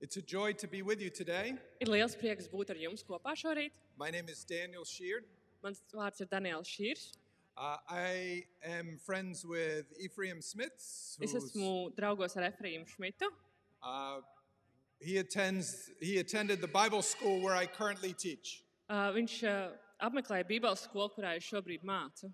It's a joy to be with you today. Ir liels prieks būt ar jums kopā šorīt. My name is Daniel Sheard. Mans vārds ir Daniels Šīrs. Uh, I am friends with Ephraim Smiths. Es who's, esmu draugos ar Efraīmu Šmitu. uh, he attends. He attended the Bible school where I currently teach. Uh, Viņš uh, apmeklēja Bībeles skolu, kurā es šobrīd mācu.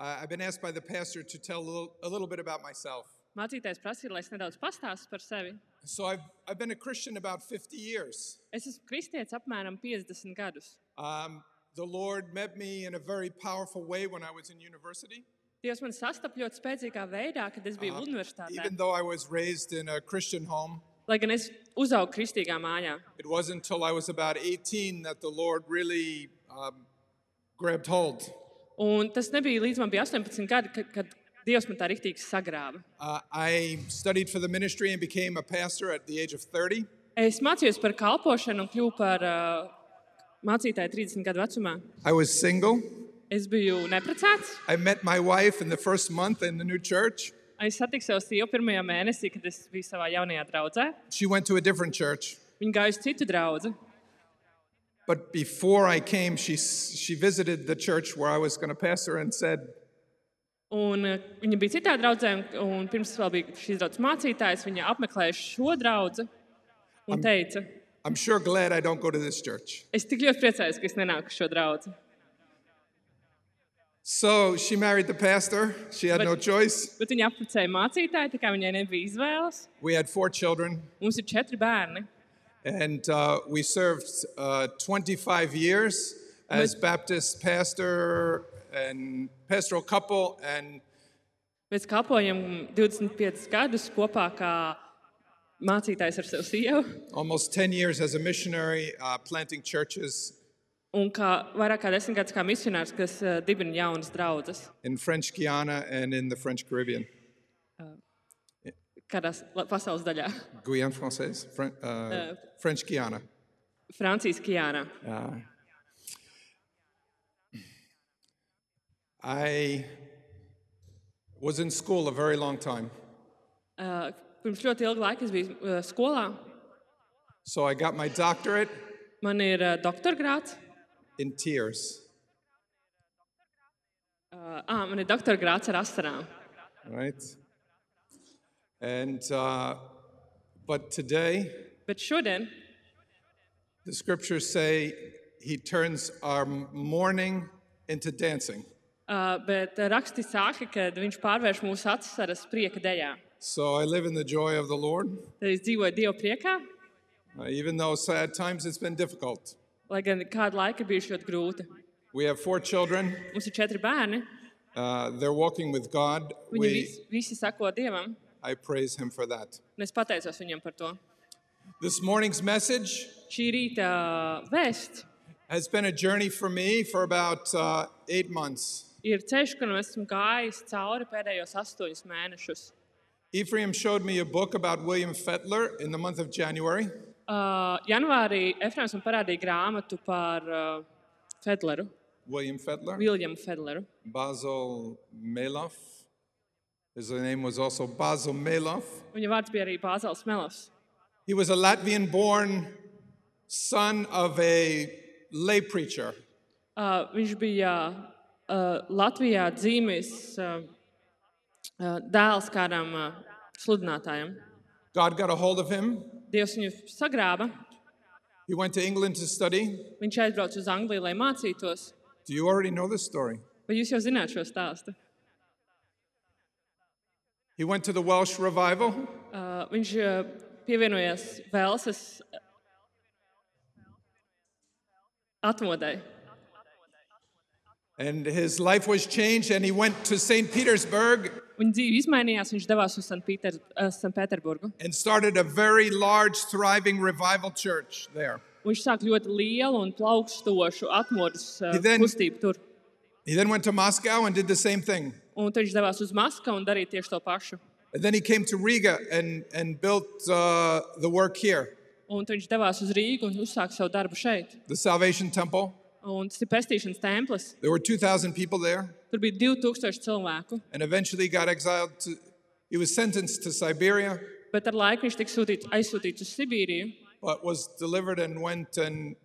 Uh, I've been asked by the pastor to tell a little, a little bit about myself. Mācītājs prasīja, lai es nedaudz pastāstu par sevi. So I've I've been a Christian about 50 years. Es esmu kristietis apmēram 50 gadus. Um, the Lord met me in a very powerful way when I was in university. Dievs man sastapa ļoti spēcīgā veidā, kad es biju universitātē. Ah, Even though I was raised in a Christian home, Lai gan es uzaugu kristīgā mājā. It wasn't until I was about 18 that the Lord really um, grabbed hold. Un tas nebija līdz man bija 18 gadi, kad, kad Dievs man tā rīktīgi sagrāva. Uh, I studied for the ministry and became a pastor at the age of 30. Es mācījos par kalpošanu un kļuvu par uh, mācītāju 30 gadu vecumā. I was single. Es biju neprecēts. I met my wife in the first month in the new church. Es satiku savu sievu pirmajā mēnesī, kad es biju savā jaunajā draudzē. She went to a different church. Viņa gāja uz citu draugu. But before I came, she, she visited the church where I was going to pastor and said, Un, eh, viņa bija citā draudzē, un, un pirms vēl bija šīs draudzes mācītājs. Viņa apmeklēja šo draugu un teica, I'm sure glad I don't go to this church. es tik ļoti priecājos, ka es nenāku uz šo draugu. So she married the pastor. She had But- no choice. Bet viņa apmeklēja mācītāju, tā kā viņai nebija izvēles. We had four children. Mums ir četri bērni. And uh, we served uh, 25 years as Baptist pastor and pastoral couple and Mēs kalpojam 25 gadus kopā kā mācītājs ar savu sievu. almost 10 years as a missionary uh, planting churches Un kā vairāk kā desmit gadus kā misionārs, kas uh, dibina jaunas draudzes in French Guiana and in the French Caribbean. kādā pasaules daļā, Guyane Française? Fren- uh, French Guiana. Francijas Kijānā. I was in school a very long time. Uh, pirms ļoti ilga laika es biju uh, skolā. So I got my doctorate Man ir uh, doktora grāts. in tears. Uh, à, man ir doktora grāts ar asarām. right? And uh, but today Bet šodien the scriptures say he turns our mourning into dancing. uh, bet raksti saka, ka viņš pārvērš mūsu asaras prieka dejā. So I live in the joy of the Lord, Tad es dzīvoju Dieva priekā, uh, even though so at times it's been difficult. lai gan kādu laiku bija ļoti grūti. We have four children; Mums ir četri bērni. uh, they're walking with God. Viņi We, visi, visi sako Dievam, I praise Him for that. un es pateicos viņam par to. This morning's message Šī rīta uh, vēsts has been a journey for me for about uh, eight months. ir ceļš, kur esmu gājis cauri pēdējos astoņus mēnešus. Ephraim showed me a book about William Fetler in the month of January. Uh, janvārī Efrēms man parādīja grāmatu par uh, Fedleru, William Fetler. Viljamu Fedleru. Basil Meloff. His name was also Basil Meloff. Viņa vārds bija arī Bāzels Melovs. He was a Latvian born son of a lay preacher. Uh, viņš bija uh, Latvijā dzīvis uh, uh, dēls kādam uh, sludinātājam. God got a hold of him. Dievs viņu sagrāba. He went to England to study. Viņš aizbrauca uz Angliju, lai mācītos. Do you already know this story? Vai jūs jau zināt šo stāstu? He went to the Welsh revival. Uh, viņš uh, pievienojās Velsas uh, atmodai. And his life was changed, and he went to St. Petersburg Viņa dzīve izmainījās, viņš devās uz Sanpīter- uh, Sanpēterburgu. and started a very large, thriving revival church there. Viņš sāk ļoti lielu un plaukstošu atmodas uh, He then- kustību tur. He then went to Moscow and did the same thing. Un tad viņš devās uz Maskavu un darīja tieši to pašu. And then he came to Riga and, and built uh, the work here, Un tad viņš devās uz Rīgu un uzsāka savu darbu šeit. the Salvation Temple. Un tas ir pestīšanas templis. There were 2,000 people there, Tur bija 2000 cilvēku. and eventually got exiled to, he was sentenced to Siberia, Bet ar laiku viņš tika sūtīts, aizsūtīts uz Sibīriju. but was delivered and went and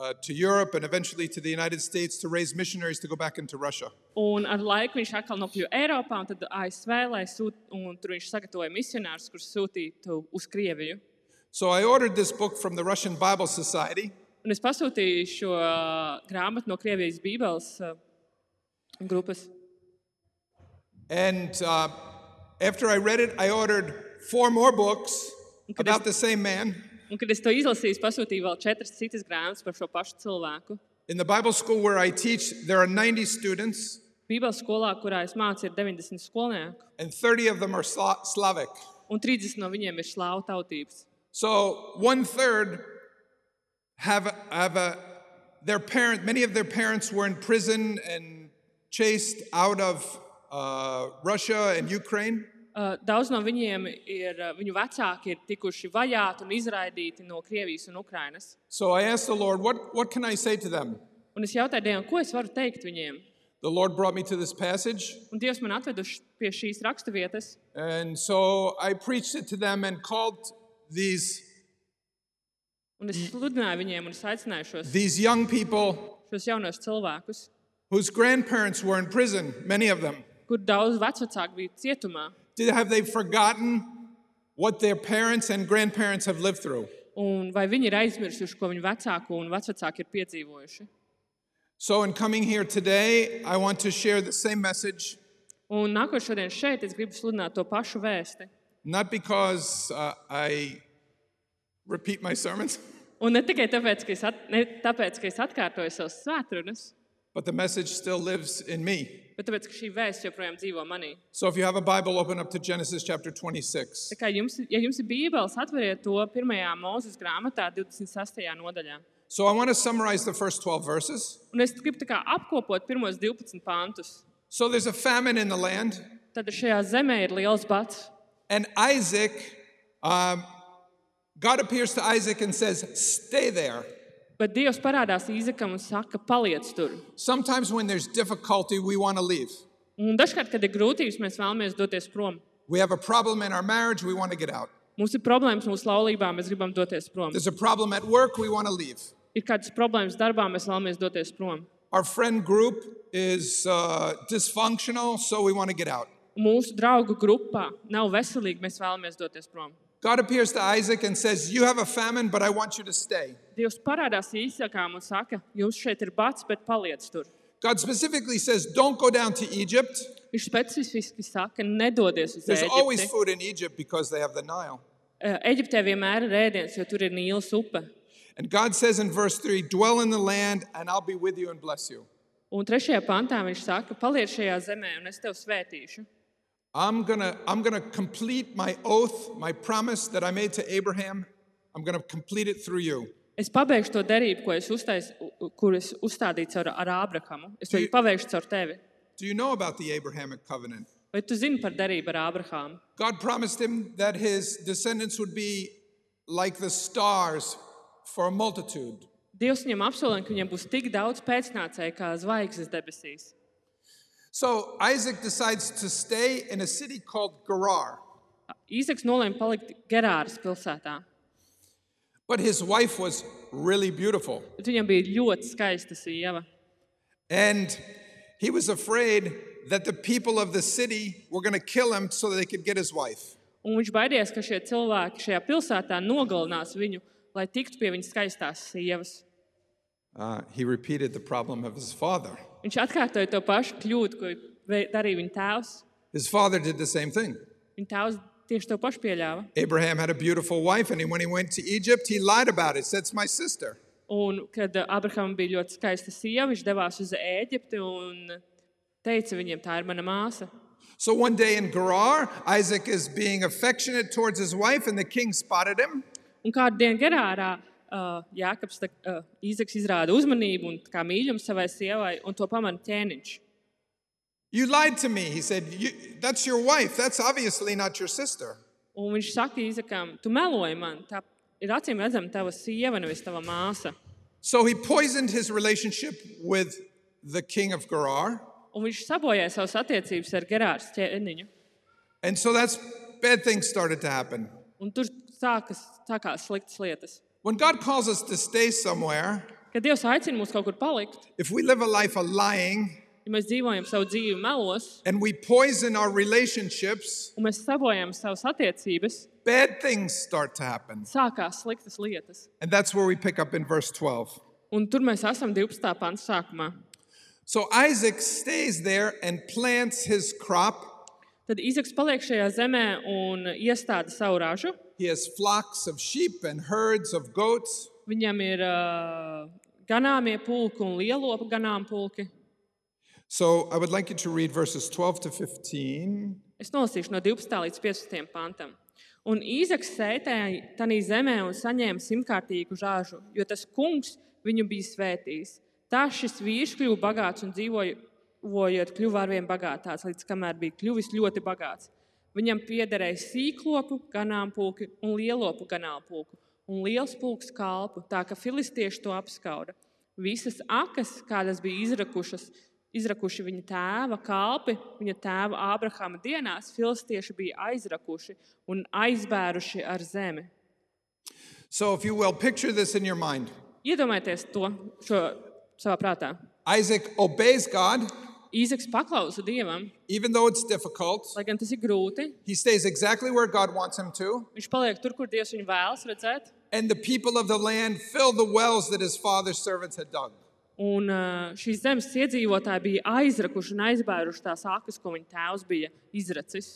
uh, to Europe and eventually to the United States to raise missionaries to go back into Russia. Un ar laiku viņš atkal nokļuva Eiropā, un tad ASV, lai sūtītu, un tur viņš sagatavoja misionārus, kurus sūtītu uz Krieviju. So I ordered this book from the Russian Bible Society, Un es pasūtīju šo ā, grāmatu no Krievijas Bībeles ā, grupas. and uh, after I read it, I ordered four more books Look at about the same man. Un, kad es to izlasīju, es pasūtīju vēl četras citas grāmatas par šo pašu cilvēku. In the Bible school where I teach, there are 90 students, Bībeles skolā, kurā es mācu, ir 90 skolnieku, and 30 of them are Sla- Slavic. un 30 no viņiem ir slāvu tautības. So one third have have a their parent. Many of their parents were in prison and chased out of uh, Russia and Ukraine. Uh, Daudz no viņiem ir, uh, viņu vecāki ir tikuši vajāti un izraidīti no Krievijas un Ukrainas. So I asked the Lord, what what can I say to them? Un es jautāju Dievam, ko es varu teikt viņiem? The Lord brought me to this passage, Un Dievs man atveda uz š- pie šīs raksturvietas, and so I preached it to them and called these un es sludināju viņiem, un es aicināju šos, these young people šos jaunos cilvēkus, whose grandparents were in prison. Many of them kur daudz vecāki bija cietumā. did have they forgotten what their parents and grandparents have lived through? Un vai viņi ir aizmirsuši, ko viņu vecāku un vecāki ir piedzīvojuši? So, in coming here today, I want to share the same message, Un nākot šodien šeit, es gribu sludināt to pašu vēsti. not because uh, I repeat my sermons, Un ne tikai tāpēc, ka es, at, ne, tāpēc, ka es atkārtoju savas svētkrunas, but the message still lives in me. bet tāpēc, ka šī vēsts joprojām dzīvo manī. So, if you have a Bible, open up to Genesis chapter 26. Tā kā jums, ja jums ir bībeles, atveriet to pirmajā mūzes grāmatā, 26. nodaļā. So, I want to summarize the first 12 verses. Un es gribu tā kā apkopot pirmos 12 pantus. So, there's a famine in the land, Tad šajā zemē ir liels bats. and Isaac, um, God appears to Isaac and says, Stay there. Bet Dievs parādās Īzakam un saka, paliec tur. Sometimes when there's difficulty, we want to leave. Un dažkārt, kad ir grūtības, mēs vēlamies doties prom. We have a problem in our marriage, we want to get out. Mums ir problēmas mūsu laulībā, mēs gribam doties prom. There's a problem at work, we want to leave. Ir kādas problēmas darbā, mēs vēlamies doties prom. Our friend group is uh, dysfunctional, so we want to get out. Mūsu draugu grupā nav veselīgi, mēs vēlamies doties prom. God appears to Isaac and says, You have a famine, but I want you to stay. Dievs parādās Īzakam un saka, jums šeit ir bats, bet paliec tur. God specifically says, Don't go down to Egypt. Viņš specifiski saka, nedodies uz There's always Eģipti. food in Egypt because they have the Nile. Eh, Eģiptē vienmēr ir ēdiens, jo tur ir Nīlas upe. And God says in verse 3, Dwell in the land, and I'll be with you and bless you. Un trešajā pantā viņš saka, paliec šajā zemē, un es tevi svētīšu. I'm going to I'm going to complete my oath, my promise that I made to Abraham. I'm going to complete it through you. Es pabeigšu to derību, ko es, uztais, kur es uzstādīju caur, ar Ābrahamu. Es to Tu- pabeigšu caur tevi. Do you know about the Abrahamic covenant? Vai tu zini par derību ar Ābrahamu? God promised him that his descendants would be like the stars for a multitude. Dievs viņam apsolīja, ka viņam būs tik daudz pēcnācēju kā zvaigznes debesīs. So Isaac decides to stay in a city called Gerar, Īzaks nolēma palikt Gerāras pilsētā. but his wife was really beautiful. Bet Viņam bija ļoti skaista sieva. And he was afraid that the people of the city were going to kill him so they could get his wife. Un viņš baidījās, ka šie cilvēki šajā pilsētā nogalinās viņu, lai tiktu pie viņas skaistās sievas. Uh, he repeated the problem of his father. Viņš atkārtoja to pašu kļūdu, ko vei- darīja viņa tēvs. His father did the same thing. Viņa tēvs tieši to pašu pieļāva. Abraham had a beautiful wife, and when he went to Egypt, he lied about it. That's my sister. Un, kad ā, Abrahamam bija ļoti skaista sieva, viņš devās uz Eģipti un teica viņiem, tā ir mana māsa. So one day in Gerar, Isaac is being affectionate towards his wife, and the king spotted him. Un kādu dienu garā uh, Jānis uh, Izaks izrāda uzmanību un tā kā mīlestību savai sievai, un to pamana ķēniņš. You lied to me, he said. You, that's your wife. That's obviously not your sister. Un viņš saka, Izakam, tu meloji man, tā ir acīm redzama tava sieva, nevis tava māsa. So he poisoned his relationship with the king of Gerar. Un viņš sabojāja savas attiecības ar Gerārs ķēniņu. And so that's bad things started to happen. Un tur sākas, sākās sliktas lietas. When God calls us to stay somewhere, Kad Dievs aicina mūs kaut kur palikt, if we live a life of lying ja mēs dzīvojam savu dzīvi melos, and we poison our relationships, un mēs sabojam savas attiecības, bad things start to happen. sākās sliktas lietas. And that's where we pick up in verse 12. Un tur mēs esam 12. pāns sākumā. So Isaac stays there and plants his crop. Tad Izaks paliek šajā zemē un iestāda savu ražu. He has flocks of sheep and herds of goats. Viņam ir uh, ganāmie pulki un lielopu ganāmpulki. So I would like you to read verses 12 to 15. Es nolasīšu no 12. līdz 15. pantam. Un Īzaks sēdēja tajā zemē un saņēma simtkārtīgu žāžu, jo tas kungs viņu bija svētījis. Tā šis vīrs kļuva bagāts un dzīvojot, kļuva arvien bagātāks, līdz kamēr bija kļuvis ļoti bagāts. Viņam piederēja sīklopu, ganāmpulki un lielopu ganāmpulku un liels pulks kalpu, tā ka filistieši to apskauda. Visas akas, kādas bija izrakušas, izrakuši viņa tēva kalpi, viņa tēva Ābrahama dienās, filistieši bija aizrakuši un aizbēruši ar zemi. So, if you will, picture this in your mind. Iedomājieties to šo, savā prātā. Isaac obeys God, Īzaks paklausa dievam, even though it's difficult. lai gan tas ir grūti. He stays exactly where God wants him to. Viņš paliek tur, kur dievs viņu vēlas redzēt. And the people of the land fill the wells that his father's servants had dug. Un ā, šīs zemes iedzīvotāji bija aizrakuši un aizbēruši tās akas, ko viņa tēvs bija izracis.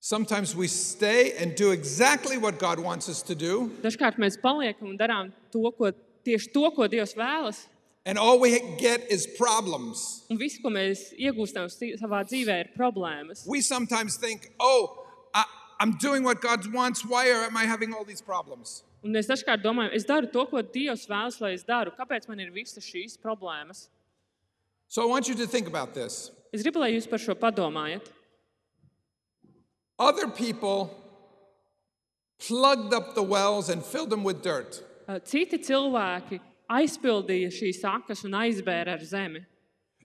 Sometimes we stay and do exactly what God wants us to do, Dažkārt mēs paliekam un darām to, ko, tieši to, ko Dievs vēlas. and all we get is problems. Un viss, ko mēs iegūstam si- savā dzīvē, ir problēmas. We sometimes think, oh, I, I'm doing what God wants. Why am I having all these problems? Un mēs dažkārt domājam, es daru to, ko Dievs vēlas, lai es daru. Kāpēc man ir visas šīs problēmas? So I want you to think about this. Es gribu, lai jūs par šo padomājat. Other people plugged up the wells and filled them with dirt. Ā, Citi cilvēki aizpildīja šīs akas un aizbēra ar zemi.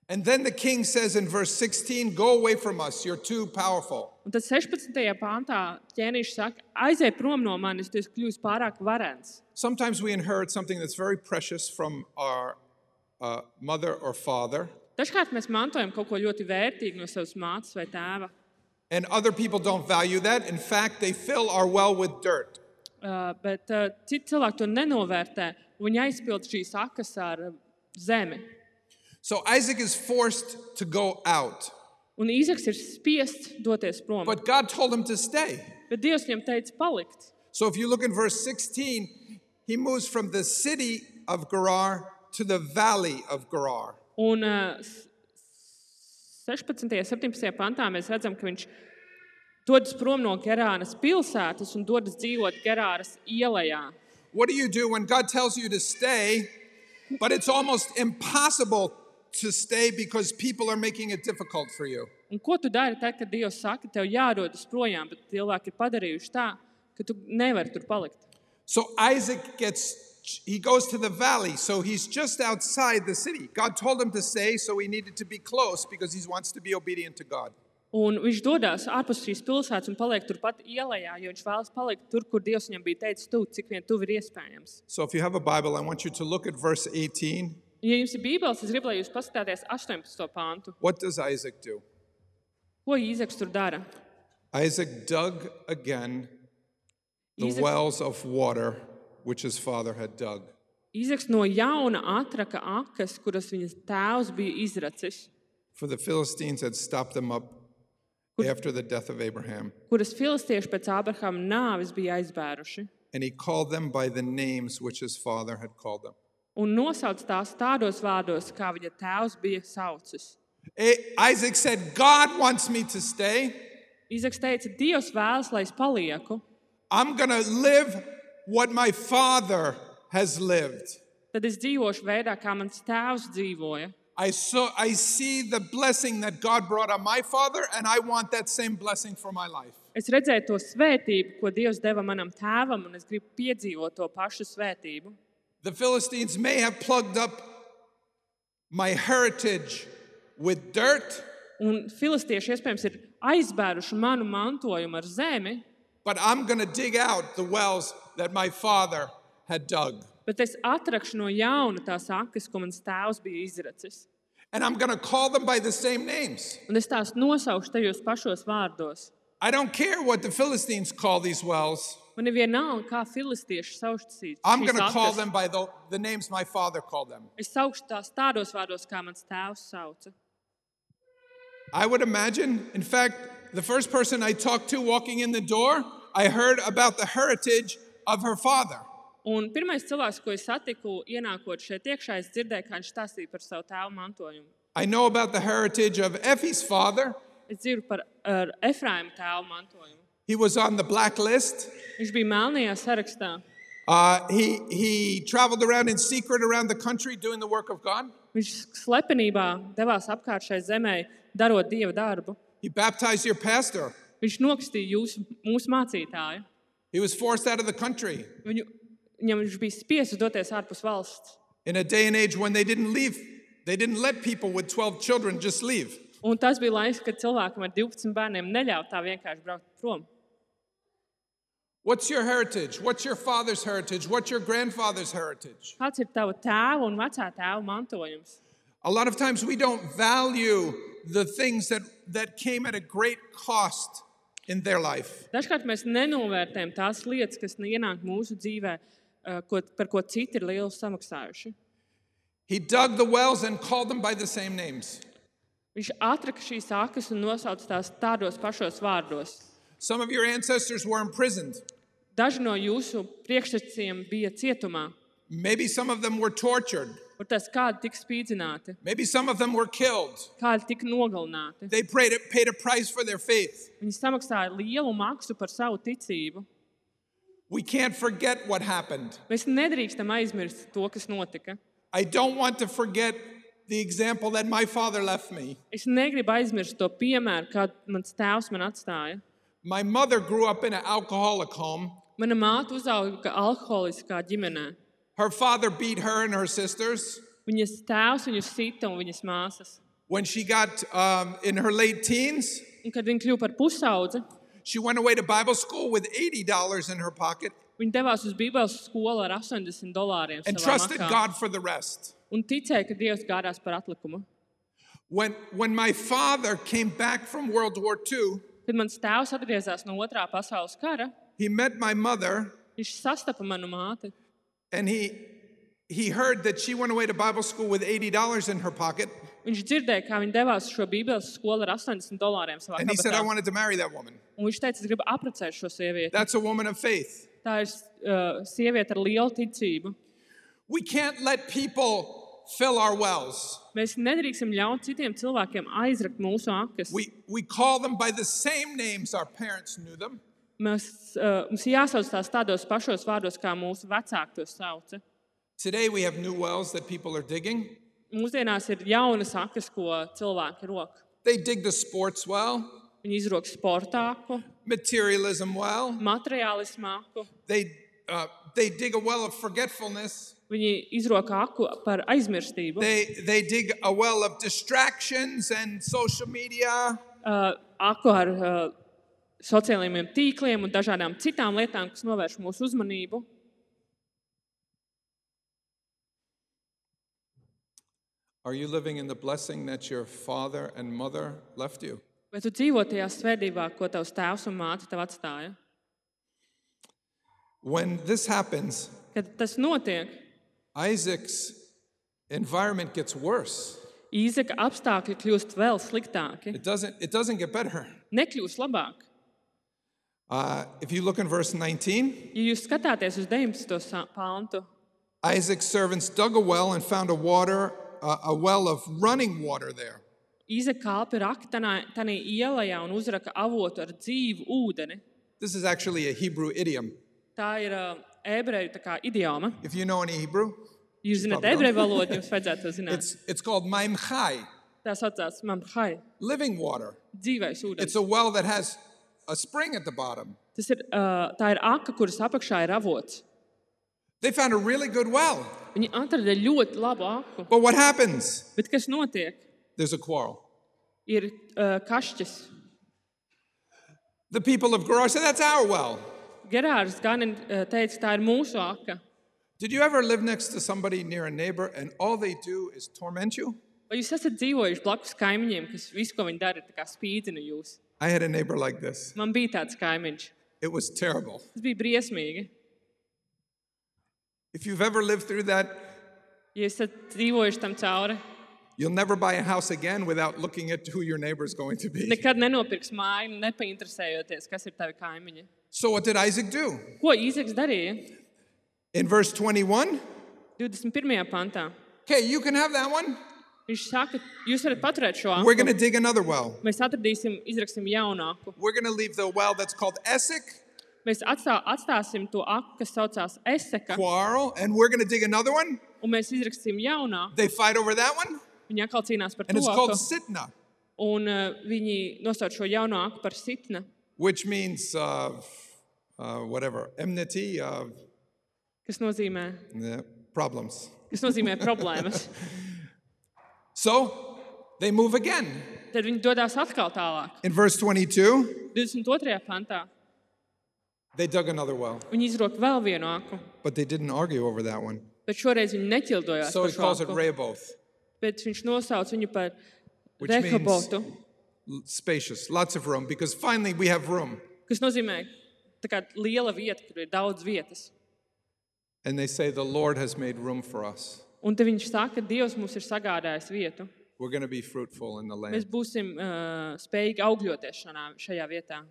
And then the king says in verse 16, Go away from us, you're too powerful. Un tad 16. pāntā ķēniņš saka, aiziet prom no manis, tu esi kļuvis pārāk varens. Sometimes we inherit something that's very precious from our uh, mother or father, Dažkārt mēs mantojam kaut ko ļoti vērtīgu no savas mātes vai tēva. and other people don't value that. In fact, they fill our well with dirt. Uh, bet uh, citi cilvēki to nenovērtē. Viņi aizpild šīs akas ar uh, zemi. So Isaac is forced to go out, Un Īzaks ir spiests doties prom. But, but God told him to stay. bet Dievs viņam teica, palikt. So if you look in verse 16, he moves from the city of Gerar to the valley of Gerar. Un uh, s- 16. un 17. pantā mēs redzam, ka viņš dodas prom no Gerānas pilsētas un dodas dzīvot Gerānas ielā. What do you do when God tells you to stay, but it's almost impossible to stay because people are making it difficult for you? Un ko tu dari tad, kad Dievs saka, tev jādodas projām, bet cilvēki ir padarījuši tā, ka tu nevari tur palikt? So Isaac gets, he goes to the valley. So he's just outside the city. God told him to stay, so he needed to be close because he wants to be obedient to God. Un viņš dodas ārpus šīs pilsētas un paliek turpat ielā, jo viņš vēlas palikt tur, kur Dievs viņam bija teicis, tu cik vien tuvu ir iespējams. So if you have a Bible, I want you to look at verse 18. Un, Ja jums ir bībeles, es gribu, lai jūs paskatāties 18. pāntu. What does Isaac do? Ko Īzeks tur dara? Isaac dug again the Isaac- wells of water which his father had dug. Īzeks no jauna atraka akas, kuras viņas tēvs bija izracis, For the Philistines had stopped them up after the death of Abraham, kuras filistieši pēc Ābrahama nāves bija aizbēruši. and he called them by the names which his father had called them. Un nosauc tās tādos vārdos, kā viņa tēvs bija saucis. A- Isaac said, God wants me to stay. Īzeks teica, Dievs vēlas, lai es palieku. I'm going to live what my father has lived. Tad es dzīvošu veidā, kā mans tēvs dzīvoja. I, saw, I see the blessing that God brought on my father, and I want that same blessing for my life. Es redzēju to svētību, ko Dievs deva manam tēvam, un es gribu piedzīvot to pašu svētību. The Philistines may have plugged up my heritage with dirt, Un filistieši iespējams ir aizbēruši manu mantojumu ar zemi, but I'm going to dig out the wells that my father had dug. bet es atrakšu no jauna tās akas, ko mans tēvs bija izracis. And I'm going to call them by the same names. Un es tās nosaukšu tajos pašos vārdos. I don't care what the Philistines call these wells. Man ir vienalga, kā filistieši sauc šīs I'm going to akas. call them by the, the names my father called them. Es saukšu tās tādos vārdos, kā mans tēvs sauca. I would imagine, in fact, the first person I talked to walking in the door, I heard about the heritage of her father. Un pirmais cilvēks, ko es satiku, ienākot šeit iekšā, es dzirdēju, kā viņš stāstīja par savu tēvu mantojumu. I know about the heritage of Effie's father. Es dzirdu par ar Efraima tēvu mantojumu. He was on the blacklist. Viņš bija melnajā sarakstā. Uh, he, he traveled around in secret around the country doing the work of God. Viņš slepenībā devās apkārt šai zemē, darot dieva darbu. He baptized your pastor. Viņš nokstīja jūsu, mūsu mācītāju. He was forced out of the country Viņu, viņam viņš bija spiests doties ārpus valsts. in a day and age when they didn't leave. They didn't let people with 12 children just leave. Un tas bija laiks, kad cilvēkam ar 12 bērniem neļāva tā vienkārši braukt prom. What's your heritage? What's your father's heritage? What's your grandfather's heritage? Kāds ir tava tēva un vecā tēva mantojums? A lot of times we don't value the things that, that came at a great cost in their life. Dažkārt mēs nenovērtējam tās lietas, kas ienāk mūsu dzīvē, eh, ko, par ko citi ir lielu samaksājuši. He dug the wells and called them by the same names. Viņš atraka šīs akas un nosauca tās tādos pašos vārdos. Some of your ancestors were imprisoned. Daži no jūsu priekšsacījumiem bija cietumā, Maybe some of them were tortured. kur tas kādi tika spīdzināti, Maybe some of them were killed. kādi tika nogalināti. They prayed, paid a price for their faith. Viņi samaksāja lielu maksu par savu ticību. We can't forget what happened. Mēs nedrīkstam aizmirst to, kas notika. I don't want to forget the example that my father left me. Es negribu aizmirst to piemēru, kādu mans tēvs man atstāja. My mother grew up in an alcoholic home. Mana māte uzauga alkoholiskā ģimenē. Her father beat her and her sisters. Viņas tēvs viņu sita un viņas māsas. When she got um, in her late teens, Un, kad viņa kļuva par pusaudzi, she went away to Bible school with $80 in her pocket viņa devās uz Bībeles skolu ar 80 dolāriem. and savā trusted makā God for the rest. Un ticēja, ka Dievs gādās par atlikumu. When, when my father came back from World War II, Kad mans tēvs atgriezās no otrā pasaules kara, he met my mother viņš sastapa manu māti. and he, he heard that she went away to Bible school with $80 in her pocket. Viņš dzirdēja, kā viņa devās uz šo Bībeles skolu ar 80 dolāriem savā And he said, I kabatā. wanted to marry that woman. Un viņš teica, es gribu apprecēt šo sievieti. That's a woman of faith. Tā ir uh, sieviete ar lielu ticību. We can't let people fill our wells. Mēs nedrīkstam ļaut citiem cilvēkiem aizrakt mūsu akas. We, we call them by the same names our parents knew them. Mēs, uh, mums ir jāsauc tās tādos pašos vārdos, kā mūsu vecāki to sauca. Today we have new wells that people are digging. Mūsdienās ir jaunas akas, ko cilvēki rok. They dig the sports well, Viņi izrok sportāku, materialism well. materiālismu aku, They, uh, they dig a well of forgetfulness. viņi izrok aku par aizmirstību, They, they dig a well of distractions and social media. uh, aku ar uh, sociālajiem tīkliem un dažādām citām lietām, kas novērš mūsu uzmanību. Are you living in the blessing that your father and mother left you? Vai tu dzīvo tajā svētībā, ko tavs tēvs un māte tev atstāja? When this happens, Kad tas notiek, Isaac's environment gets worse. īzaka apstākļi kļūst vēl sliktāki, It doesn't, it doesn't get better. nekļūst labāk. Uh, if you look in verse 19, Ja jūs skatāties uz 19. sa- pāntu, Isaac's servants dug a well and found a water, uh, a well of running water there. izekāpa raktanā, tanī ielā un uzraka avotu ar dzīvu ūdeni. This is actually a Hebrew idiom. Tā ir uh, ebreju tā kā idioma. If you know any Hebrew, Jūs zināt, Labi. ebreju valodu jums vajadzētu to zināt. it's, it's called Maim Chai, Tā saucās mamhai, living water. dzīvais It's ūdens. a well that has a spring at the bottom. Tas ir, uh, tā ir aka, kuras apakšā ir avots. They found a really good well. Viņi atrada ļoti labu aku. But what happens? Bet kas notiek? There's a quarrel. Ir uh, kašķis. The people of Gerar said, That's our well. Gerārs Ganis teica, tā ir mūsu aka. Did you ever live next to somebody near a neighbor and all they do is torment you? Vai jūs esat dzīvojuši blakus kaimiņiem, kas visu, ko viņi dara, ir tā kā spīdzina jūs? I had a neighbor like this. Man bija tāds kaimiņš. It was terrible. Tas bija briesmīgi. If you've ever lived through that, Ja esat dzīvojuši tam cauri, you'll never buy a house again without looking at who your neighbor is going to be. nekad nenopirks māju, nepainteresējoties, kas ir tavi kaimiņi. So, what did Isaac do? Ko Īzeks darīja In verse 21, 21. pantā? okay, you can have that one. Viņš saka, jūs varat paturēt šo We're anklu. going to dig another well. Mēs atradīsim, izraksim jaunāku. We're going to leave the well that's called Essek, Mēs atstā, atstāsim to aktu, kas saucās Eseka, Quarrel, and we're going to dig another one. un mēs izraksim jaunāku. They fight over that one, Viņi atkal cīnās par and to, it's called aku, Sitna, un uh, viņi nosauc šo jaunāku par sitna, which means uh, uh, whatever, enmity, uh, kas nozīmē, yeah, problems. kas nozīmē problēmas. So they move again. Tad viņi dodas atkal tālāk. In verse 22, 22. pantā they dug another well, viņi izrok vēl vienu aku, but they didn't argue over that one. bet šoreiz viņi neķildojās. So par he šo calls it aku, Rehoboth, Bet viņš nosauca viņu par Which means- rehobotu, L- spacious, lots of room, because finally we have room. kas nozīmē tā kā liela vieta, kur ir daudz vietas. And they say, The Lord has made room for us. Un te viņš saka, Dievs mums ir sagādājis vietu. We're going to be fruitful in the land. Mēs būsim uh, spējīgi augļoties šanā, šajā vietā.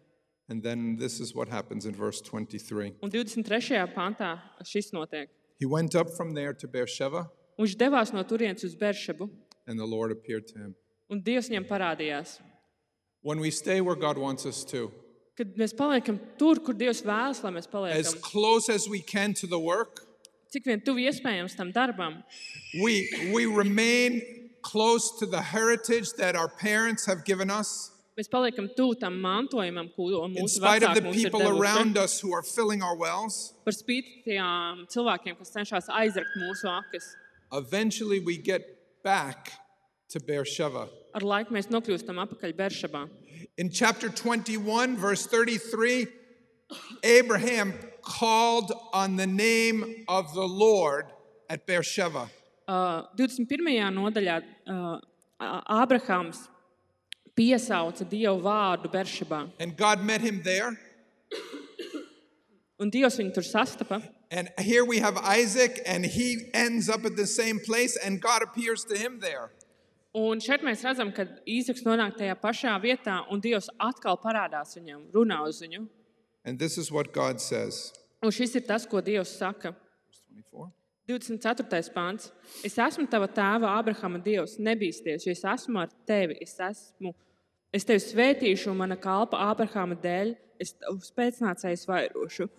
And then this is what happens in verse 23. Un 23. pantā šis notiek. He went up from there to Beersheba, Un Viņš devās no turienes uz Beršebu, and the Lord appeared to him. un Dievs viņam parādījās. When we stay where God wants us to, Kad mēs paliekam tur, kur Dievs vēlas, lai mēs as paliekam, close as we can to the work, cik vien tuvu iespējams tam darbam, we, we remain close to the heritage that our parents have given us, mēs paliekam tuvu tam mantojumam, ko in mūsu spite of vecāki the mums ir people devuši. around us who are filling our wells. Par spīti tiem cilvēkiem, kas cenšas aizrakt mūsu akas, Eventually, we get back to Beersheba. ar laiku mēs nokļūstam atpakaļ Beršabā. In chapter 21, verse 33, Abraham called on the name of the Lord at Beersheba. Uh, 21. nodaļā uh, Ā- Ābrahāms piesauca Dievu vārdu Beršabā, And God met him there. un Dievs viņu tur sastapa. And here we have Isaac, and he ends up at the same place, and God appears to him there. Un šeit mēs redzam, ka Īzaks nonāk tajā pašā vietā, un Dievs atkal parādās viņam, runā uz viņu. And this is what God says. Un šis ir tas, ko Dievs saka. Verse 24. 24. pāns. Es esmu tava tēva, Abrahama Dievs. Nebīsties, jo es esmu ar tevi. Es, esmu, es tevi svētīšu, un mana kalpa Abrahama dēļ es tavu spēcnācēju vairošu.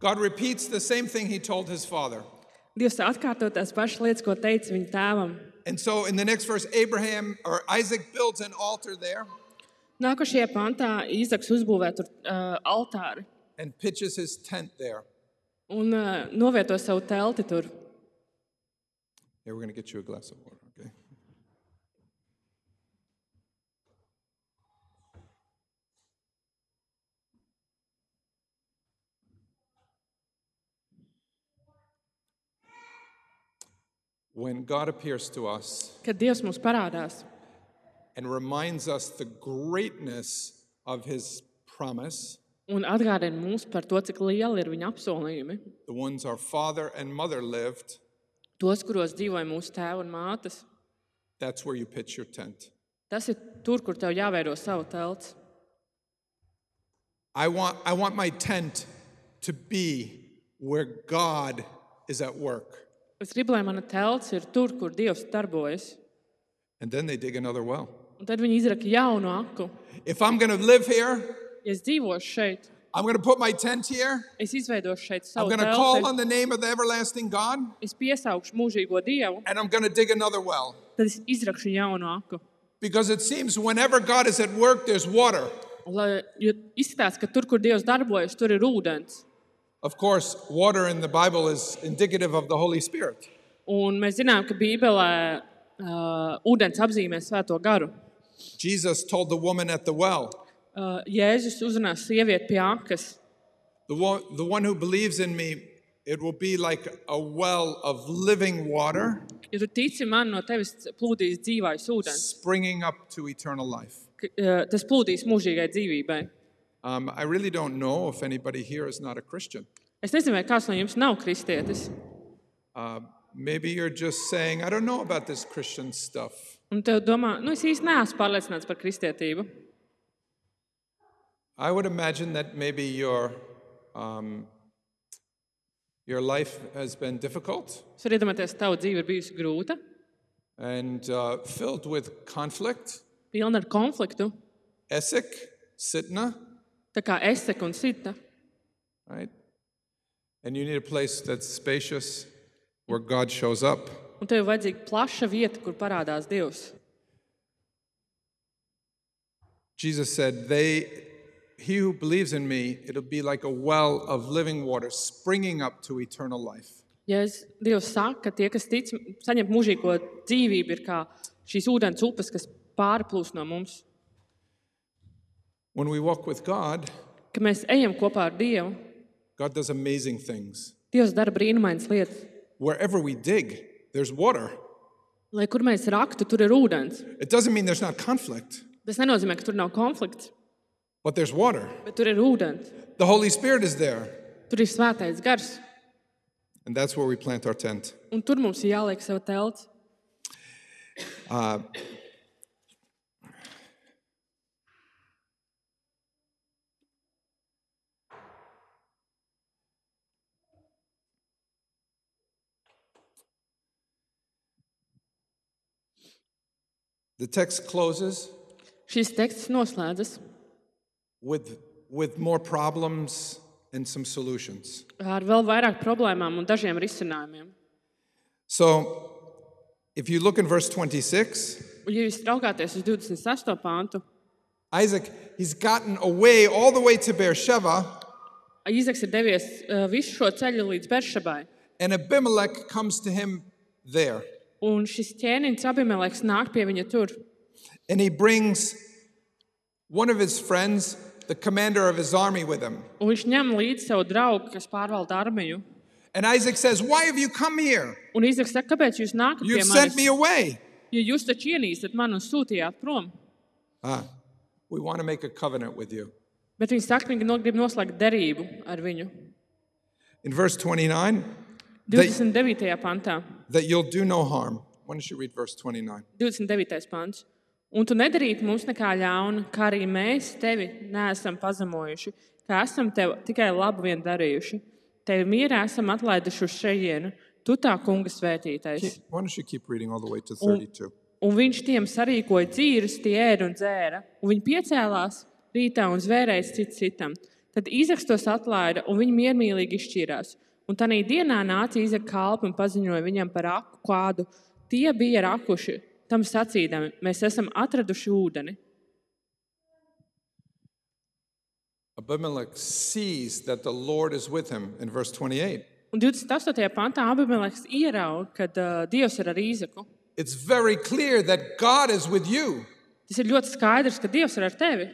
God repeats the same thing he told his father. Dievs atkārto tās pašas lietas, ko teica viņa tēvam. And so in the next verse, Abraham or Isaac builds an altar there Nākošajā pantā Īzaks uzbūvē tur uh, altāri and pitches his tent there. un uh, novieto savu telti tur. Here, we're going to get you a glass of water, okay? When God appears to us Kad Dievs mums parādās and reminds us the greatness of his promise, un atgādina mums par to, cik liela ir viņa apsolījumi, the ones our father and mother lived, tos, kuros dzīvoja mūsu tēvi un mātes. that's where you pitch your tent. Tas ir tur, kur tev jāveido savu telts. I want, I want my tent to be where God is at work. Es gribu, lai mana telts ir tur, kur Dievs darbojas. And then they dig another well. Un tad viņi izraka jaunu aku. If I'm going to live here, Ja es dzīvošu šeit, I'm going to put my tent here. es izveidošu šeit I'm savu going to call telti. on the name of the everlasting God, Es piesaukšu mūžīgo dievu, and I'm going to dig another well. tad es izrakšu jaunu aku. Because it seems whenever God is at work, there's water. Lai, jo izskatās, ka tur, kur Dievs darbojas, tur ir ūdens. Of course, water in the Bible is indicative of the Holy Spirit. Un mēs zinām, ka Bībelē uh, ūdens apzīmē svēto garu. Jesus told the woman at the well, uh, Jēzus uzrunā sievieti pie akas. The one, the one who believes in me, it will be like a well of living water Ja tu tici man, no tevis plūdīs dzīvais ūdens, springing up to eternal life. K- uh, tas plūdīs mūžīgai dzīvībai. Um, I really don't know if anybody here is not a Christian. Es nezinu, vai kāds no jums nav kristietis. Uh, maybe you're just saying, I don't know about this Christian stuff. Un tev domā, nu es īsti neesmu pārliecināts par kristietību. I would imagine that maybe your, um, your life has been difficult Es varu iedomāties, ka tava dzīve ir bijusi grūta, and uh, filled with conflict. pilna ar konfliktu, Esek, Sitna, tā kā esek un sita. right? And you need a place that's spacious where God shows up. Un tev ir vajadzīga plaša vieta, kur parādās Dievs. Jesus said, They, he who believes in me, it'll be like a well of living water springing up to eternal life. Ja es, Dievs saka, ka tie, kas tic, saņem mūžīgo dzīvību, ir kā šīs ūdens upes, kas pārplūst no mums, When we walk with God, ka mēs ejam kopā ar Dievu. God does amazing things. Dievs dara brīnumainas lietas. Wherever we dig, there's water. Lai kur mēs raktu, tur ir ūdens. It doesn't mean there's not conflict, Tas nenozīmē, ka tur nav konflikts, but there's water. bet tur ir ūdens. The Holy Spirit is there, Tur ir svētais gars, and that's where we plant our tent. un tur mums ir jāliek savu telti. The text closes Šis teksts noslēdzas with, with more problems and some solutions. ar vēl vairāk problēmām un dažiem risinājumiem. So, if you look in verse 26, Un, ja jūs raugāties uz 28. pāntu, Isaac, he's gotten away all the way to Beersheba, Īzaks ir devies uh, visu šo ceļu līdz Beršabai. and Abimelech comes to him there. Un šis ķēniņš Abimeleks nāk pie viņa tur. And he brings one of his friends, the commander of his army, with him. Un viņš ņem līdzi savu draugu, kas pārvalda armiju. And Isaac says, Why have you come here? Un Īzaks saka, kāpēc jūs nākat pie You've sent me manis? away. Jo jūs taču ienīstat mani un sūtījāt prom. Ah, we want to make a covenant with you. Bet viņi saka, viņi no- grib noslēgt derību ar viņu. In verse 29, 29. pantā, that you'll do no harm. Why don't you read verse 29? 29. pants. Un tu nedarītu mums nekā ļauna, kā arī mēs tevi neesam pazemojuši, kā esam tev tikai labu vien darījuši. Tevi mierā esam atlaiduši uz šejienu, tu tā kunga svētītais. Why don't you keep reading all the way to 32? Un viņš tiem sarīkoja dzīves, tie ēda un dzēra. Un viņi piecēlās rītā un zvērēja cits citam. Tad Izaks tos atlaida, un viņi miermīlīgi izšķīrās. Un tā dienā nāca Izaka kalpa un paziņoja viņam par aku kādu. Tie bija rakuši, tam sacīdami, mēs esam atraduši ūdeni. Abimelech sees that the Lord is with him in verse 28. Un 28. pantā Abimeleks ieraudzīja, ka uh, Dievs ir ar Īzaku. It's very clear that God is with you. Tas ir ļoti skaidrs, ka Dievs ir ar tevi.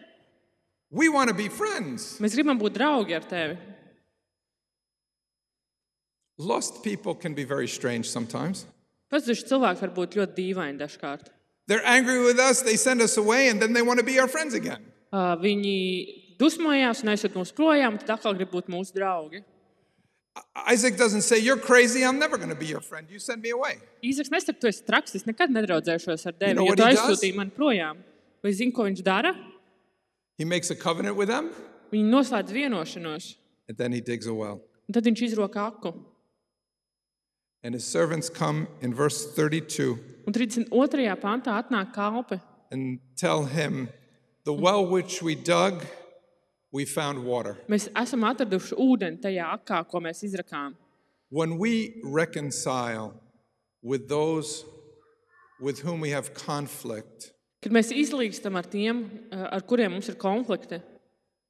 We want to be friends. Mēs gribam būt draugi ar tevi. Lost people can be very strange sometimes. Pazuduši cilvēki var būt ļoti dīvaini dažkārt. They're angry with us, they send us away, and then they want to be our friends again. Uh, viņi dusmojās un aizsūtīja mums projām, tad atkal grib būt mūsu draugi. Isaac doesn't say, You're crazy, I'm never going to be your friend. You send me away. Īzaks nesaka, tu esi traks, es nekad nedraudzēšos ar tevi, know jo what tu he aizsūtīji does? mani projām. Vai zini, ko viņš dara? He makes a covenant with them, Viņi noslēdz vienošanos, and then he digs a well. un tad viņš izroka aku. And his servants come in verse 32 Un 32. pantā atnāk kalpi. and tell him, The well which we dug, we found water. Mēs esam atraduši ūdeni tajā akā, ko mēs izrakām. When we reconcile with those with whom we have conflict, Kad mēs izlīgstam ar tiem, uh, ar kuriem mums ir konflikti,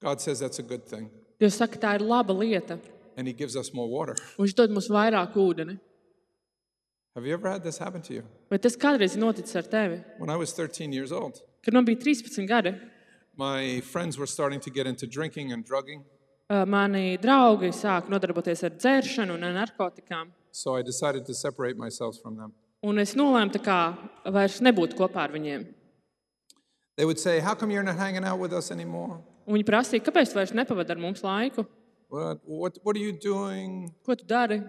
God says that's a good thing, Dievs saka, tā ir laba lieta. and He gives us more water. un Viņš dod mums vairāk ūdeni. Have you ever had this happen to you? Vai tas kādreiz ir noticis ar tevi? When I was 13 years old, Kad man bija 13 gadi, my friends were starting to get into drinking and drugging. Uh, Mani draugi sāka nodarboties ar dzēršanu un ar narkotikām. So I decided to separate myself from them. Un es nolēmu, tā kā vairs nebūt kopā ar viņiem. They would say, How come you're not hanging out with us anymore? Un viņi prasīja, kāpēc tu vairs nepavadi ar mums laiku? What, what, what are you doing? Ko tu dari?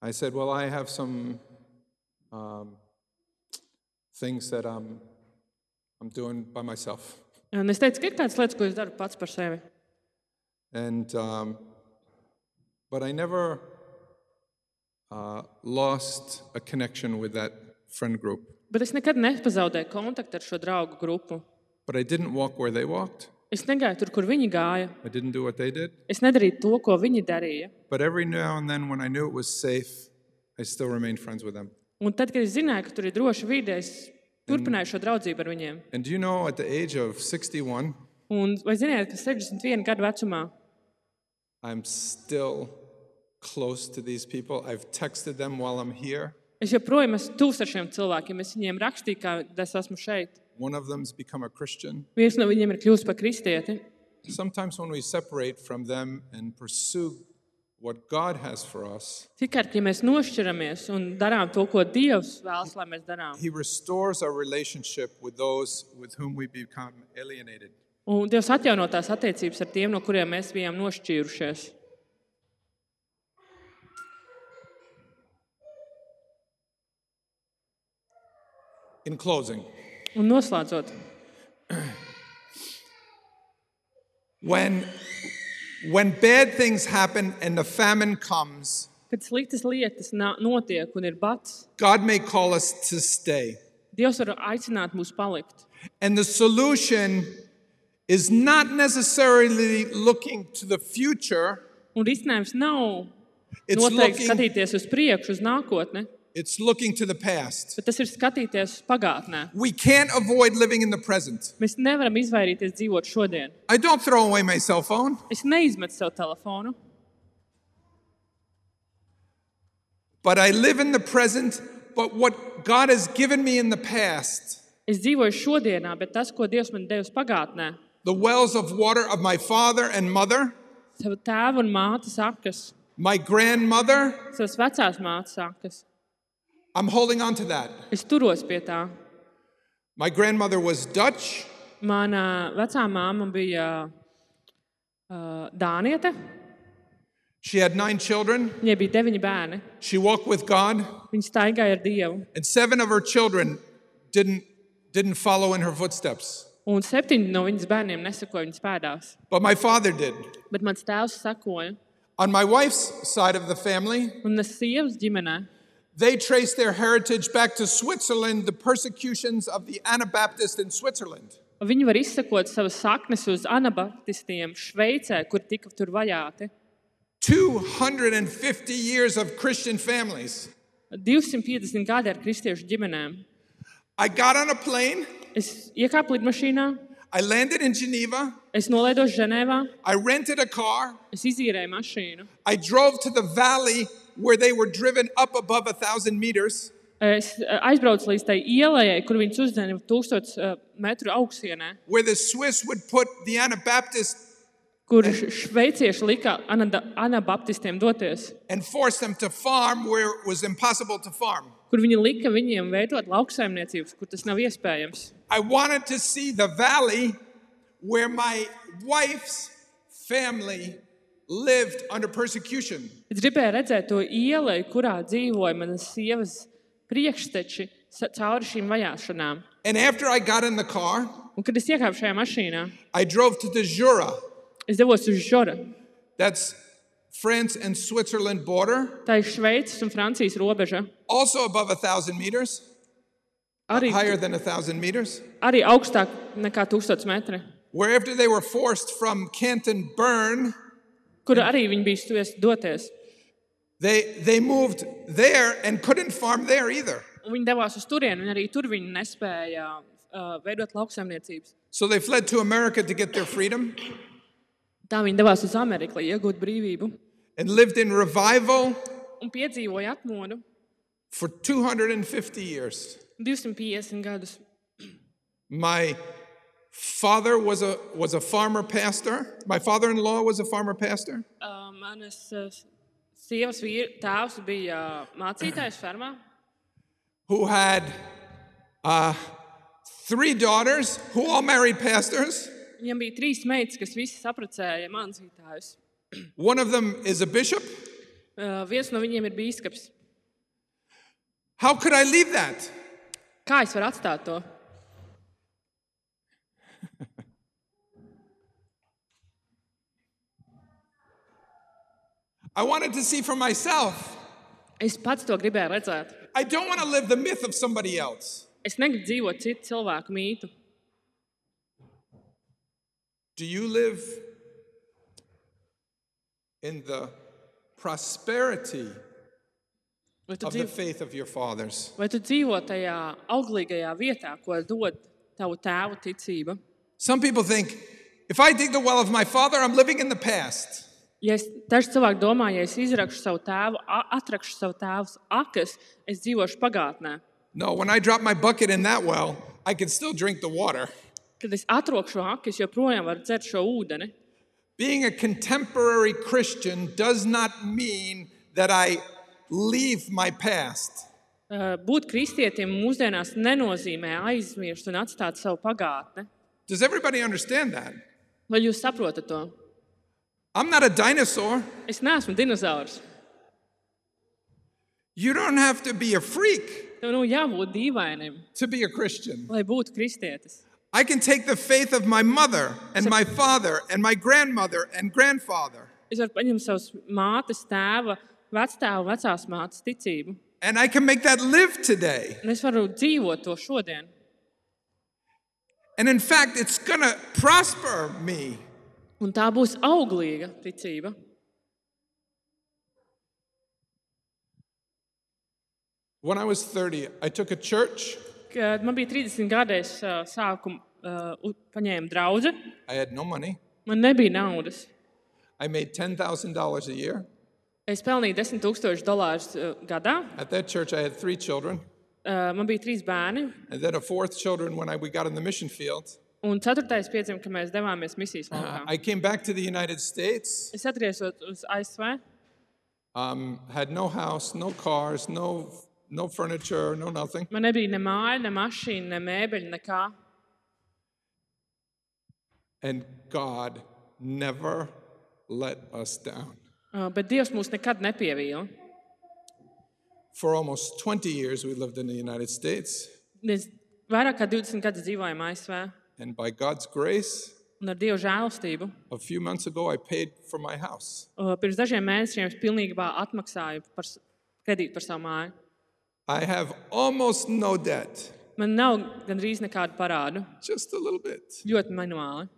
I said, Well, I have some um, things that I'm, I'm doing by myself. Un es teicu, ka ir kādas lietas, ko es daru pats par sevi. And, um, but I never uh, lost a connection with that friend group. Bet es nekad nepazaudēju kontaktu ar šo draugu grupu. But I didn't walk where they walked, Es negāju tur, kur viņi gāja. I didn't do what they did. Es nedarīju to, ko viņi darīja. But every now and then, when I knew it was safe, I still remained friends with them. Un tad, kad es zināju, ka tur ir droši vide, es turpināju šo draudzību ar viņiem. And do you know, at the age of 61, Un, vai ziniet, ka 61 gadu vecumā I'm still close to these people. I've texted them while I'm here. es joprojām esmu tuvs ar šiem cilvēkiem? Es viņiem rakstīju, ka es esmu šeit. One of them's become a Christian. Viens no viņiem ir kļuvis par kristieti. Sometimes, when we separate from them and pursue what God has for us, Tikai, ja mēs nošķiramies un darām to, ko Dievs vēlas, lai mēs darām, He restores our relationship with those with whom we become alienated. un Dievs atjauno tās attiecības ar tiem, no kuriem mēs bijām nošķīrušies. In closing, Un noslēdzot, when, when bad things happen and the famine comes, kad sliktas lietas nā- notiek un ir bats, God may call us to stay. Dievs var aicināt mūs palikt. And the solution is not necessarily looking to the future, Un risinājums nav it's noteikti looking, skatīties uz priekšu, uz nākotni, it's looking to the past. bet tas ir skatīties uz pagātnē. We can't avoid living in the present. Mēs nevaram izvairīties dzīvot šodien. I don't throw away my cell phone, Es neizmetu savu telefonu, but I live in the present. But what God has given me in the past, es dzīvoju šodienā, bet tas, ko Dievs man devis pagātnē, the wells of water of my father and mother, savu tēvu un mātes akas, my grandmother, savas vecās mātes akas, I'm holding on to that. es turos pie tā. My grandmother was Dutch. Mana vecā māma bija uh, Dāniete, She had nine children. viņai bija deviņi bērni. She walked with God. Viņa staigāja ar Dievu, and seven of her children didn't didn't follow in her footsteps un septiņi no viņas bērniem nesakoja viņas pēdās. but my father did Bet mans tēvs sakoja, on my wife's side of the family un es sievas ģimenē. they traced their heritage back to switzerland the persecutions of the anabaptists in switzerland Viņi var izsekot savas saknes uz anabaptistiem Šveicē, kur tika tur vajāti. 250 years of christian families 250 gadi ar kristiešu ģimenēm. i got on a plane Es iekāpu lidmašīnā, i landed in geneva es nolaidos Ženēvā, i rented a car es izīrēju mašīnu. i drove to the valley where they were driven up above a thousand meters Es eh, aizbraucu līdz tai ielai, kur viņas uzdeva 1000 eh, metru augstienē, where the swiss would put the anabaptists kur š- šveicieši lika anada- anabaptistiem doties, and forced them to farm where it was impossible to farm. kur viņi lika viņiem veidot lauksaimniecības, kur tas nav iespējams. I wanted to see the valley where my wife's family lived under persecution. Es gribēju redzēt to ielu, kurā dzīvoja manas sievas priekšteči sa- cauri šīm vajāšanām. And after I got in the car, Un, kad es iekāpu šajā mašīnā, I drove to the Jura, es devos uz Žora. that's France and Switzerland border, Tā ir Šveices un Francijas robeža. also above a thousand meters, Arī, higher than a thousand meters, arī augstāk nekā 1000 metri, where after they were forced from Canton Bern, kur arī viņi bija spiest doties. they, they moved there and couldn't farm there either. Un viņi devās uz turieni, un arī tur viņi nespēja uh, veidot lauksaimniecības. So they fled to America to get their freedom. Tā viņi devās uz Ameriku, lai iegūtu brīvību. and lived in revival Un piedzīvoja atmodu for 250 years. 250 gadus. My father was a, was a farmer pastor. My father in law was a farmer pastor. Uh, manas uh, sievas vīr, tēvs bija uh, mācītājs fermā. who had uh, three daughters who all married pastors. Viņam bija trīs meitas, kas visas apprecēja mācītājus. One of them is a bishop. Uh, viens no viņiem ir bīskaps. How could I leave that? Kā es varu atstāt to? I wanted to see for myself. Es pats to gribēju redzēt. I don't want to live the myth of somebody else. Es negribu dzīvot citu cilvēku mītu. Do you live in the prosperity Vai tu, of the dzīvo, faith of your fathers? vai tu dzīvo tajā auglīgajā vietā, ko dod tavu tēvu ticība? Some people think if I dig the well of my father, I'm living in the past. Ja es, daži cilvēki domā, ja es izrakšu savu tēvu, a- atrakšu savu tēvu akas, es dzīvošu pagātnē. No, when I drop my bucket in that well, I can still drink the water. Kad es atrokšu akas, joprojām varu dzert šo ūdeni. Being a contemporary Christian does not mean that I leave my past. Uh, Būt kristietim mūsdienās nenozīmē aizmirst un atstāt savu pagātni. Does everybody understand that? Vai jūs saprotat to? I'm not a dinosaur. Es neesmu dinozaurs. You don't have to be a freak Tev nu jābūt dīvainam, to be a Christian. lai būtu kristietis. I can take the faith of my mother and my father and my grandmother and grandfather, Es varu paņemt savas mātes, tēva, vectēva, vecās mātes ticību. and I can make that live today. Un es varu dzīvot to šodien. And in fact, it's gonna prosper me. Un tā būs auglīga ticība. When I was 30, I took a church. Kad man bija 30 gadi, es ā, sāku ā, u- paņēmu draugu. I had no money. Man nebija naudas. I made $10,000 a year. Es pelnīju 10 000 dolārus ā, gadā. At that church, I had three children. Ā, Man bija trīs bērni. And then a fourth children when I, we got in the mission field. Un ceturtais piedzima, kad mēs devāmies misijas laukā. I came back to the United States, Es atgriezos uz ASV. um, had no house, no cars, no, no furniture, no nothing. Man nebija ne māja, ne mašīna, ne mēbeļa, nekā. And God never let us down. Ā, Bet Dievs mūs nekad nepievīla. For almost 20 years, we lived in the United States. Mēs vairāk kā 20 gadus dzīvojam ASV. And by God's grace, Un ar Dieva žēlastību a few months ago, I paid for my house. ā, pirms dažiem mēnešiem es pilnībā atmaksāju par s- kredītu par savu māju. I have almost no debt, Man nav gandrīz nekādu parādu. just a little bit. Ļoti manuāli.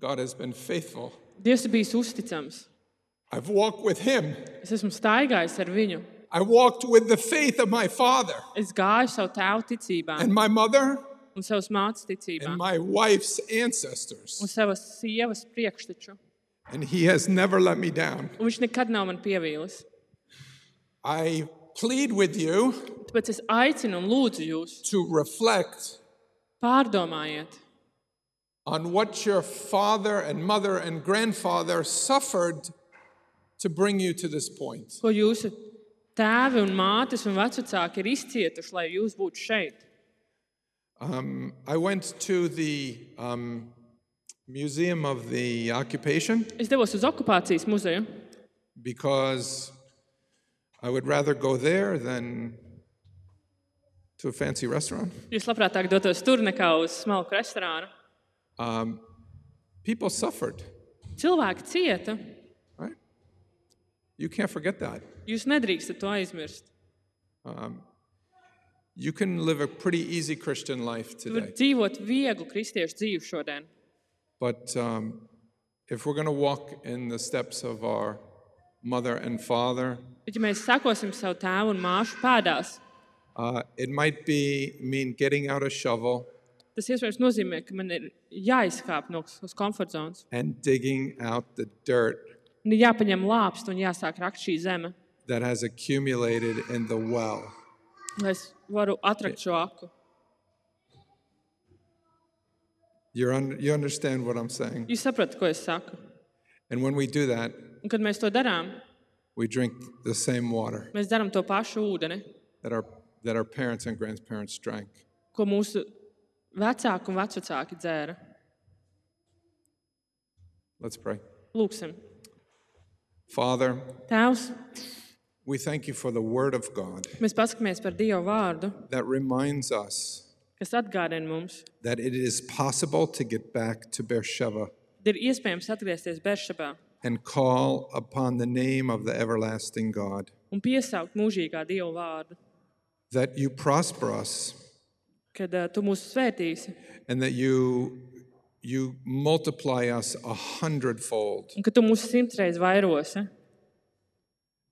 God has been faithful. Dievs ir bijis uzticams. I've walked with Him, Es esmu staigājis ar viņu. I walked with the faith of my father. Es gāju savu tēvu ticībā, and my mother un savas mātes ticībā, and my wife's un ancestors. savas sievas priekšteču. And he has never let me down. Un viņš nekad nav man pievīlis. I plead with you Tāpēc es aicinu un lūdzu jūs, to reflect pārdomājiet, on what your father and mother and grandfather suffered to bring you to this point. ko jūsu tēvi un mātes un vecāki ir izcietuši, lai jūs būtu šeit. Um, I went to the um, Museum of the Occupation Es devos uz okupācijas muzeju, because I would rather go there than to a fancy restaurant. jo es labprātāk dotos tur nekā uz smalku restorānu. Um, people suffered. Cilvēki cieta. Right? You can't forget that. Jūs nedrīkstat to aizmirst. Um, you can live a pretty easy Christian life Var today. dzīvot vieglu kristiešu dzīvi šodien. But um, if we're going to walk in the steps of our mother and father, Bet, ja mēs sekosim savu tēvu un māšu pēdās, uh, it might be mean getting out a shovel tas iespējams nozīmē, ka man ir jāizkāp no savas komforta zonas. and digging out the dirt Man ir jāpaņem lāpsts un jāsāk rakt šī zeme, that has accumulated in the well. lai es varu atrast šo aku. You're un- you understand what I'm saying? Jūs saprotat, ko es saku. And when we do that, Un, kad mēs to darām, we drink the same water mēs darām to pašu ūdeni, that our, that our parents and grandparents drank. ko mūsu vecāki un vecvecāki dzēra. Let's pray. Lūksim, Father, Tēvs, we thank you for the Word of God mēs paskatāmies par Dieva vārdu, that reminds us kas atgādina mums, that it is possible to get back to Beersheba ka ir iespējams atgriezties Beršabā and call upon the name of the everlasting God, un piesaukt mūžīgā Dieva vārdu, that you prosper us kad uh, Tu mūs svētīsi and that you, you multiply us a hundredfold. un ka Tu mūs simtreiz vairosi.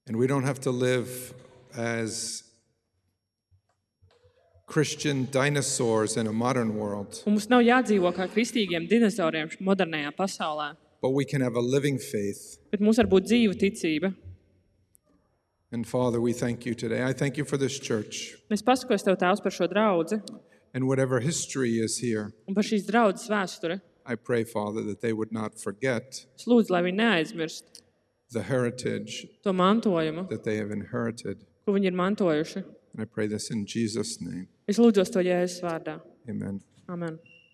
And we don't have to live as Christian dinosaurs in a modern world, Un mums nav jādzīvo kā kristīgiem dinozauriem š- modernajā pasaulē, but we can have a living faith. bet mums var būt dzīva ticība. And Father, we thank you today. I thank you for this church Es pasakos tev, Tēvs, par šo draugu and whatever history is here. un par šīs draudzes vēsturi. I pray, Father, that they would not forget Es lūdzu, lai viņi neaizmirst the heritage to mantojumu, that they have inherited. ko viņi ir mantojuši. And I pray this in Jesus' name. Es lūdzu to Jēzus vārdā. Amen. Amen.